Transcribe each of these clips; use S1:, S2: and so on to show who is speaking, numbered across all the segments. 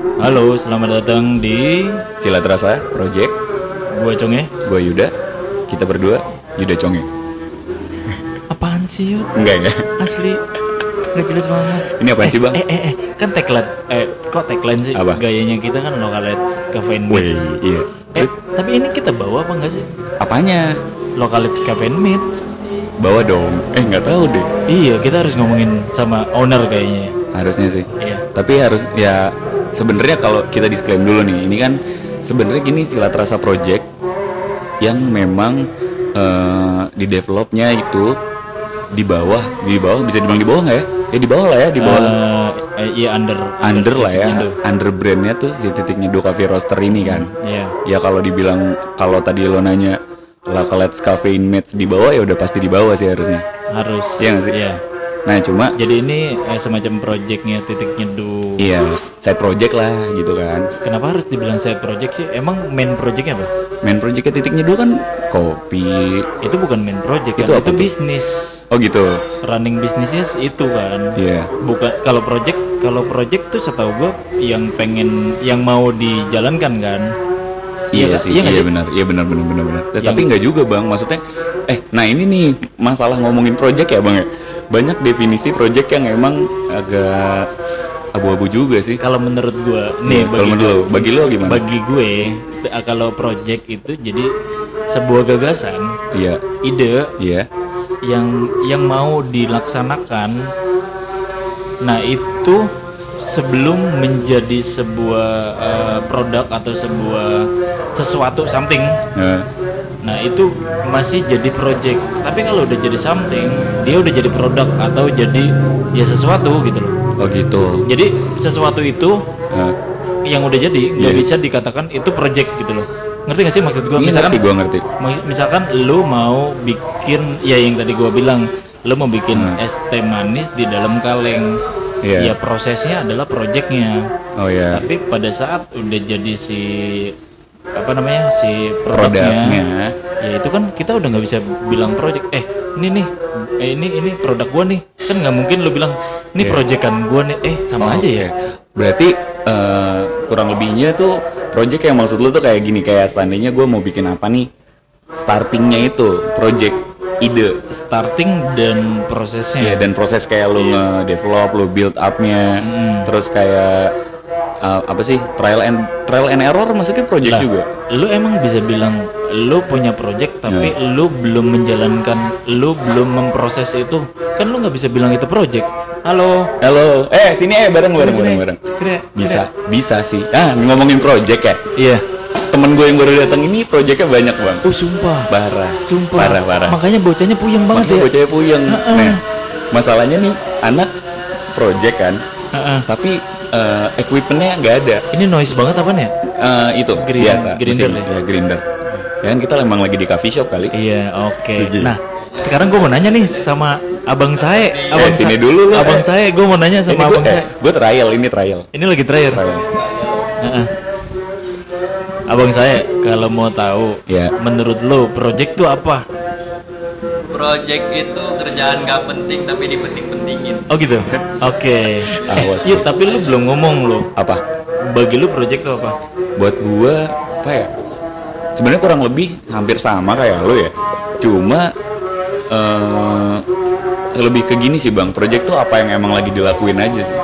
S1: Halo, selamat datang di
S2: Sila terasa, Project,
S1: Gua Cong ya.
S2: gue Yuda, kita berdua, Yuda Conge.
S1: Apaan sih, Yud?
S2: Enggak, enggak.
S1: Asli. Nggak jelas banget.
S2: Ini apaan
S1: Eh,
S2: sih, Bang?
S1: Eh, eh, eh, kan tagline. Eh, kok tagline sih?
S2: Apa?
S1: Gayanya kita kan Localates Cafe and
S2: Wih,
S1: Meets.
S2: iya.
S1: Eh,
S2: Terus,
S1: tapi ini kita bawa apa enggak sih?
S2: apanya?
S1: Localates Cafe and Meets.
S2: Bawa dong. Eh, nggak tahu deh.
S1: Iya, kita harus ngomongin sama owner kayaknya.
S2: Harusnya sih.
S1: Iya.
S2: Tapi harus, ya, sebenarnya kalau kita disclaim dulu nih, ini kan sebenarnya gini Sila terasa Project yang memang eh, di developnya itu di bawah, di bawah bisa dibilang di bawah nggak ya? Ya di bawah lah ya, di bawah.
S1: Eh, eh, iya under
S2: under lah ya,
S1: titiknya tuh.
S2: under brandnya tuh si titiknya Duka Coffee Roaster ini kan.
S1: Iya.
S2: Ya kalau dibilang kalau tadi lo nanya Lacalets Cafe Match di bawah ya udah pasti di bawah sih harusnya.
S1: Harus.
S2: Iya nggak sih? Nah cuma
S1: Jadi ini eh, semacam projectnya titik nyeduh.
S2: iya side project lah gitu kan.
S1: Kenapa harus dibilang saya project sih? Emang main projectnya apa?
S2: Main projectnya titiknya dulu kan kopi.
S1: itu bukan main project
S2: Itu
S1: kan?
S2: apa
S1: itu
S2: tuh?
S1: bisnis
S2: Oh gitu.
S1: running bisnisnya itu kan
S2: Iya.
S1: bukan kalau project kalau project tuh setahu gue yang pengen yang mau dijalankan kan
S2: Iya,
S1: kan?
S2: sih,
S1: iya,
S2: iya,
S1: nggak sih? Iya.
S2: benar, iya benar benar benar benar. Nah,
S1: Yang-
S2: Tapi nggak juga bang, maksudnya, eh, nah ini nih masalah ngomongin project ya bang ya. Banyak definisi project yang emang agak abu-abu juga sih.
S1: kalau menurut gue nih
S2: Iya, kalau
S1: bagi,
S2: menurut lo, bagi lo gimana?
S1: bagi gue eh, kalau project itu jadi sebuah gagasan
S2: Iya,
S1: ide
S2: iya.
S1: yang yang mau dilaksanakan nah itu sebelum menjadi sebuah eh, produk atau sebuah sesuatu something
S2: Nah,
S1: nah itu masih jadi project tapi kalau udah jadi something dia udah jadi produk atau jadi ya sesuatu gitu loh
S2: oh gitu.
S1: jadi sesuatu itu
S2: Nah,
S1: yang udah jadi nggak
S2: Iya.
S1: bisa dikatakan itu project gitu loh ngerti gak sih maksud gue
S2: ini
S1: misalkan
S2: ngerti, gue ngerti.
S1: Mis- misalkan lu mau bikin ya yang tadi gua bilang lu mau bikin
S2: Hmm.
S1: es teh manis di dalam kaleng
S2: Iya.
S1: ya prosesnya adalah projectnya
S2: Oh ya,
S1: tapi pada saat udah jadi si apa namanya si
S2: produknya.
S1: produknya ya itu kan kita udah nggak bisa bilang project eh ini nih eh, ini ini produk gua nih kan nggak mungkin lu bilang ini
S2: Iya.
S1: projectan gua nih eh sama
S2: Oh,
S1: aja ya
S2: oke. Berarti eh, kurang lebihnya tuh project yang maksud lu tuh kayak gini kayak seandainya gue mau bikin apa nih startingnya itu project ide
S1: starting dan prosesnya
S2: ya dan proses kayak lu
S1: Iya.
S2: nge-develop, lu build up-nya,
S1: Hmm.
S2: terus kayak eh, apa sih trial and trial and error maksudnya project
S1: Lah,
S2: juga.
S1: Lu emang bisa bilang lu punya project tapi
S2: Ya.
S1: lu belum menjalankan, lu belum memproses itu. Kan lu nggak bisa bilang itu project. Halo.
S2: Halo, eh sini eh bareng bareng
S1: Sini,
S2: bareng bareng.
S1: sini,
S2: Bisa, bisa sih. Ah, ngomongin project ya.
S1: sini. Iya.
S2: Temen gue yang baru datang ini projectnya banyak bang.
S1: Oh sumpah.
S2: Parah,
S1: Sumpah.
S2: parah, parah.
S1: Makanya bocahnya puyeng banget
S2: Makanya
S1: ya.
S2: bocahnya puyeng. Nah, masalahnya nih anak project kan,
S1: Heeh.
S2: tapi eh, equipmentnya nggak ada.
S1: Ini noise banget ya? apa nih?
S2: Eh, itu
S1: Grind-
S2: biasa.
S1: grinder
S2: mesin,
S1: ya?
S2: ya, grinder. Ya kan kita emang lagi di coffee shop kali.
S1: Iya, oke.
S2: Setuju.
S1: Nah, sekarang gue mau nanya nih sama abang saya. Abang
S2: Eh, sini
S1: saya-
S2: dulu lah,
S1: Abang
S2: eh.
S1: saya, gue mau nanya sama
S2: gue,
S1: abang saya.
S2: gue eh, trial, ini trial.
S1: Ini lagi terakhir.
S2: Trial.
S1: Heeh. Abang saya, kalau mau tahu,
S2: Ya.
S1: menurut lo project tuh apa?
S3: Project itu kerjaan gak penting tapi dipenting-pentingin.
S1: Oh gitu. Oke.
S2: Awas.
S1: Yuk, tapi lu belum ngomong lo.
S2: Apa?
S1: Bagi lu project tuh apa?
S2: Buat gue apa ya? Sebenarnya kurang lebih hampir sama kayak lo ya. Cuma eh lebih ke gini sih bang. Project tuh apa yang emang lagi dilakuin aja sih.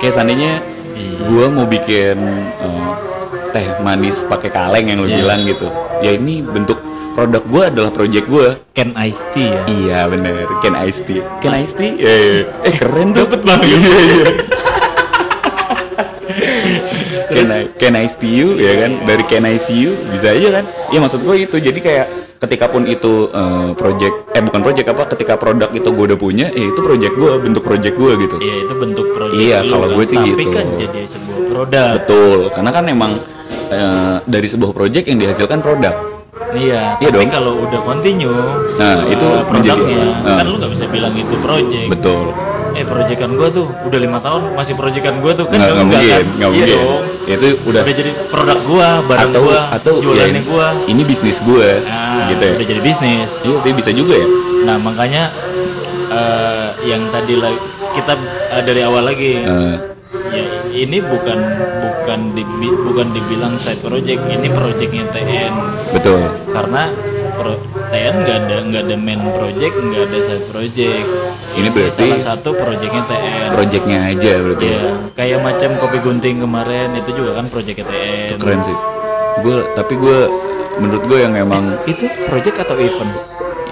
S2: Kayak seandainya
S1: Iya.
S2: gue mau bikin eh, teh manis pakai kaleng yang lu
S1: Iya.
S2: bilang gitu ya ini bentuk produk gue adalah project gue
S1: Can ice tea ya.
S2: iya bener can ice tea can ice tea Iya, iya. eh keren tuh
S1: Dapet banget.
S2: Iya, iya. can I, can I see you ya kan dari can I see you bisa aja kan ya maksud gue itu jadi kayak ketika pun itu eh, project eh bukan project apa ketika produk itu gue udah punya ya itu project gue bentuk project gue gitu
S1: Iya, itu bentuk project.
S2: Iya,
S1: lu
S2: kalau
S1: kan.
S2: gue sih
S1: tapi
S2: gitu.
S1: kan jadi sebuah produk.
S2: Betul, karena kan emang eh, dari sebuah project yang dihasilkan produk.
S1: Iya.
S2: Iya
S1: tapi
S2: dong.
S1: kalau udah continue,
S2: Nah,
S1: eh,
S2: itu menjadi-
S1: produknya
S2: Nah.
S1: kan lu nggak bisa bilang itu project.
S2: Betul.
S1: Eh, proyekan gue tuh udah lima tahun masih proyekan gue tuh kan
S2: Nggak, nggak
S1: nggak
S2: mungkin,
S1: kan?
S2: nggak
S1: iya
S2: mungkin.
S1: dong.
S2: Itu
S1: Udah.
S2: udah,
S1: jadi produk gua, barang
S2: atau
S1: gua,
S2: atau
S1: jualannya
S2: ya,
S1: gua.
S2: Ini bisnis gue,
S1: Nah,
S2: gitu ya.
S1: udah jadi bisnis.
S2: Iya sih bisa juga ya.
S1: Nah, makanya eh, yang tadi la- kita eh, dari awal lagi
S2: Eh,
S1: ya, ini bukan bukan dibi- bukan dibilang side project ini projectnya TN
S2: betul
S1: karena pro- TN nggak ada nggak ada main project nggak ada side project
S2: Ini berarti-
S1: salah satu projectnya TN
S2: projectnya aja berarti
S1: Iya, kayak macam kopi gunting kemarin itu juga kan project TN
S2: itu keren sih gue tapi gue menurut gue yang emang
S1: itu project atau event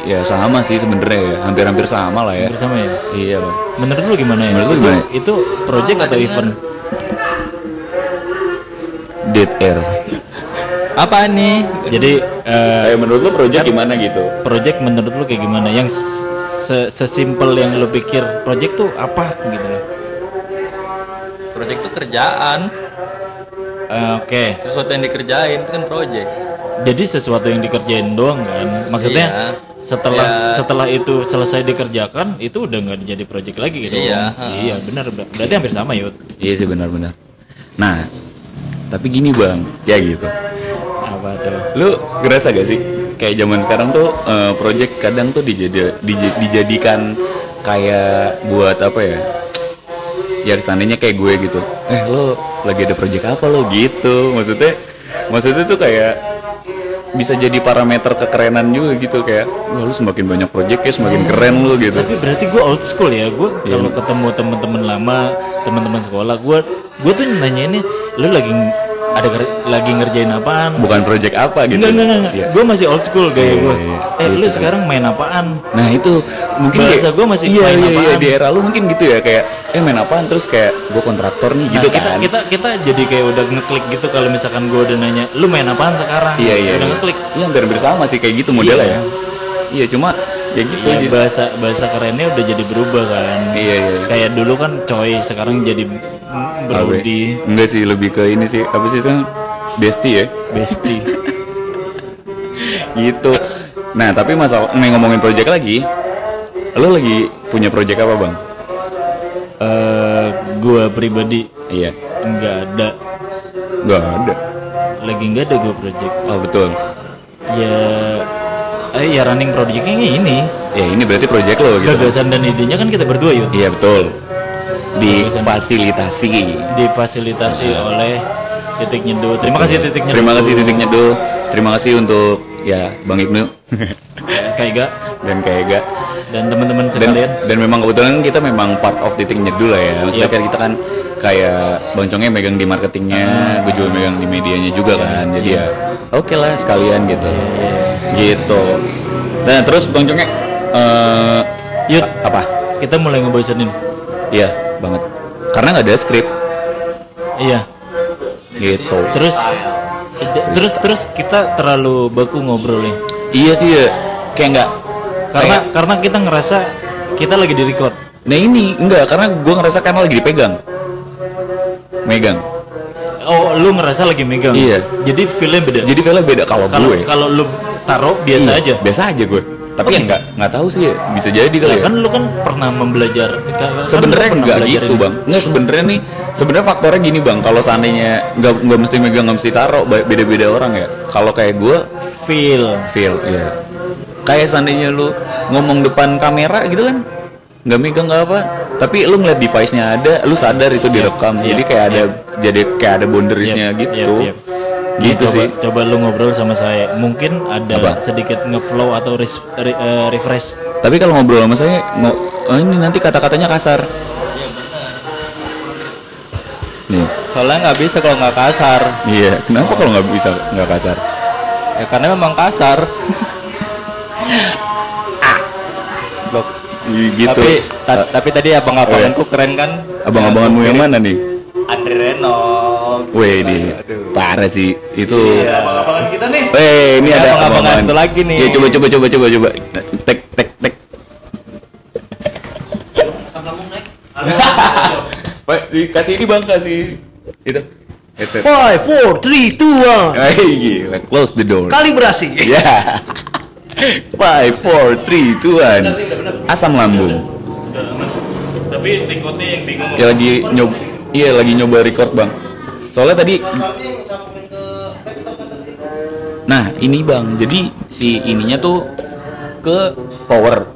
S2: ya sama sih sebenarnya ya hampir-hampir sama lah ya
S1: bersama ya
S2: iya Bang.
S1: menurut lu gimana ya
S2: Menurut lu
S1: itu,
S2: gimana?
S1: itu project
S3: Ah,
S1: atau
S3: nggak
S1: event
S2: dead air
S1: apa nih jadi eh,
S2: kayak menurut lo project gimana gitu
S1: project menurut lu kayak gimana yang se- se- sesimpel yang lu pikir project tuh apa gitu loh
S3: project itu kerjaan
S1: Eh, oke
S3: sesuatu yang dikerjain itu kan project
S1: jadi sesuatu yang dikerjain doang kan maksudnya
S3: Iya.
S1: setelah
S3: Iya.
S1: setelah itu selesai dikerjakan itu udah nggak jadi project lagi gitu
S3: Iya, ha.
S1: iya benar ber- berarti hampir sama yud
S2: iya sih benar-benar nah tapi gini bang ya gitu
S1: apa tuh
S2: lu ngerasa gak sih kayak zaman sekarang tuh eh, project kadang tuh dijadi, dij- dijadikan kayak buat apa ya ya seandainya kayak gue gitu eh lo lagi ada project apa lo gitu maksudnya maksudnya tuh kayak bisa jadi parameter kekerenan juga gitu kayak wah lu semakin banyak project ya semakin keren lu gitu
S1: tapi berarti gue old school ya gue
S2: Iya.
S1: kalau ketemu teman-teman lama teman-teman sekolah gue gue tuh nanyainnya lu lagi ng- ada ker- lagi ngerjain apaan
S2: bukan project apa gitu
S1: Enggak, enggak, enggak.
S2: Iya.
S1: Gue masih old school gaya
S2: Iya,
S1: gue.
S2: iya,
S1: Eh,
S2: iya,
S1: lu
S2: iya.
S1: sekarang main apaan?
S2: Nah itu mungkin
S1: Bahasa
S2: kayak-
S1: gua masih
S2: iya,
S1: main
S2: iya, iya,
S1: apaan.
S2: di era lu mungkin gitu ya kayak eh main apaan terus kayak gue kontraktor nih
S1: Nah,
S2: gitu
S1: kita,
S2: kan.
S1: kita kita jadi kayak udah ngeklik gitu kalau misalkan gue udah nanya, lu main apaan sekarang?
S2: iya iya.
S1: Udah
S2: iya.
S1: ngeklik.
S2: Iya hampir hampir sama sih kayak gitu modelnya
S1: Iya.
S2: ya. Iya cuma ya gitu.
S1: Iya,
S2: Iya
S1: bahasa bahasa kerennya udah jadi berubah kan.
S2: iya. iya.
S1: Kayak dulu kan coy, sekarang jadi
S2: Awe.
S1: brody,
S2: Enggak sih lebih ke ini sih apa sih sekarang besti ya
S1: bestie.
S2: gitu. Nah tapi masalah nih ngomongin project lagi, lo lagi punya project apa bang?
S1: Eh, gue pribadi
S2: Iya,
S1: nggak ada
S2: nggak ada.
S1: lagi nggak ada gue project
S2: Oh betul.
S1: ya eh ya running projectnya ini
S2: Ya ini berarti project lo gitu.
S1: gagasan dan idenya kan kita berdua yuk
S2: Iya betul. Iya, Difasilitasi.
S1: difasilitasi oleh titik nyeduh. Terima kasih titik nyeduh.
S2: Iya. Terima kasih titik nyeduh. Terima kasih untuk ya Bang Ibnu
S1: Kak Iga
S2: dan Kak Ega.
S1: Ya, dan teman-teman
S2: Dan,
S1: sekalian.
S2: dan memang kebetulan kita memang part of titik nyeduh lah ya. Maksudnya
S1: Yap.
S2: kan kita kan kayak Bang Congnya megang di
S1: Ah.
S2: marketingnya, gue juga megang di medianya juga
S1: Iya.
S2: kan. Jadi ya oke lah sekalian gitu.
S1: iya.
S2: Gitu. Nah terus Bang Congnya eh
S1: Yud,
S2: a- apa?
S1: kita mulai ngebosenin.
S2: Iya banget. Karena nggak ada skrip
S1: Iya.
S2: gitu.
S1: Terus j- terus terus kita terlalu baku ngobrolnya.
S2: Iya sih ya. Kayak nggak.
S1: Karena
S2: Iya.
S1: karena kita ngerasa kita lagi di record.
S2: Nah ini enggak karena gue ngerasa kan lagi dipegang, megang.
S1: Oh, lu ngerasa lagi megang.
S2: Iya.
S1: Jadi feel-nya beda.
S2: Jadi kalau beda kalau
S1: kalau
S2: gue
S1: kalau lu taruh biasa
S2: Iya,
S1: aja.
S2: Biasa aja gue. Tapi
S1: Oke.
S2: ya nggak nggak tahu sih ya, bisa jadi kali
S1: Nah,
S2: ya.
S1: kan lu kan pernah membelajar. kan lu
S2: Sebenarnya
S1: pernah
S2: nggak
S1: belajar
S2: gitu
S1: ini.
S2: bang. Nggak sebenarnya nih sebenarnya faktornya gini bang. Kalau seandainya nggak nggak mesti megang nggak mesti taruh ba- beda-beda orang ya. Kalau kayak gue
S1: Feel.
S2: feel ya. Kayak seandainya lu ngomong depan kamera gitu kan nggak megang nggak apa tapi lu ngeliat device-nya ada lu sadar itu direkam
S1: iya,
S2: jadi kayak ada
S1: iya.
S2: jadi kayak ada boundariesnya
S1: Yap,
S2: gitu
S1: yap, yap. Nih, Iya,
S2: gitu
S1: coba,
S2: sih
S1: Coba lu ngobrol sama saya. Mungkin ada
S2: Apa?
S1: sedikit ngeflow atau res- re- eh, refresh.
S2: tapi kalau ngobrol sama saya ngo- oh, ini nanti kata-katanya kasar nih
S4: soalnya nggak bisa kalau nggak kasar
S2: iya kenapa kalau nggak bisa nggak kasar
S4: ya karena memang kasar Blok.
S2: Y- gitu
S4: tapi ta- tapi tadi abang-abanganku keren kan
S2: abang-abanganmu yang mana nih
S4: Andre Reynolds
S2: Weh di parah sih itu
S1: Ya,
S4: abang-abangan kita nih
S2: Weh, ini
S4: Ini
S2: Iya. ada
S4: abang-abangan
S2: abang-abangan.
S4: itu lagi nih.
S2: Ya coba coba coba coba coba. Tek tek tek. Pak, dikasih ini bang, kasih itu. Itu.
S5: Five, four, three, two, one.
S2: Hey, gila, close the door.
S5: Kalibrasi.
S2: Ya. Five, four, three, two, one. Asam lambung.
S1: Tapi recordnya yang bingung.
S2: Ya lagi nyob, iya lagi nyoba record bang. Soalnya tadi. Nah ini bang, jadi si ininya tuh ke power.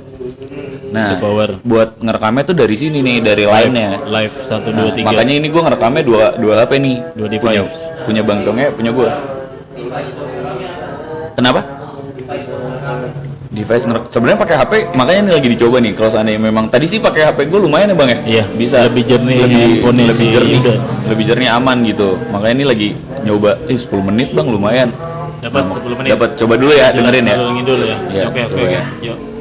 S1: The
S2: Nah,
S1: Power.
S2: buat ngerekamnya tuh dari sini nih, dari lainnya.
S1: live satu
S2: Nah,
S1: dua tiga
S2: makanya ini gua ngerekamnya dua dua HP nih.
S1: Dua device.
S2: Punya, punya Bang Tongnya, punya gua. Kenapa? Device ngerek- sebenarnya pakai HP makanya ini lagi dicoba nih kalau seandainya memang tadi sih pakai HP gue lumayan ya bang ya
S1: Iya,
S2: bisa
S1: lebih jernih
S2: lebih,
S1: handphone-nya
S2: lebih
S1: si
S2: jernih
S1: Yuda.
S2: lebih jernih aman gitu makanya ini lagi nyoba eh 10 menit bang lumayan
S1: Dapat
S2: Nah,
S1: 10 menit.
S2: dapat coba dulu ya dengerin ya
S1: Jalan dulu ya
S2: Iya,
S1: oke oke
S2: coba
S1: oke
S2: ya.
S1: yuk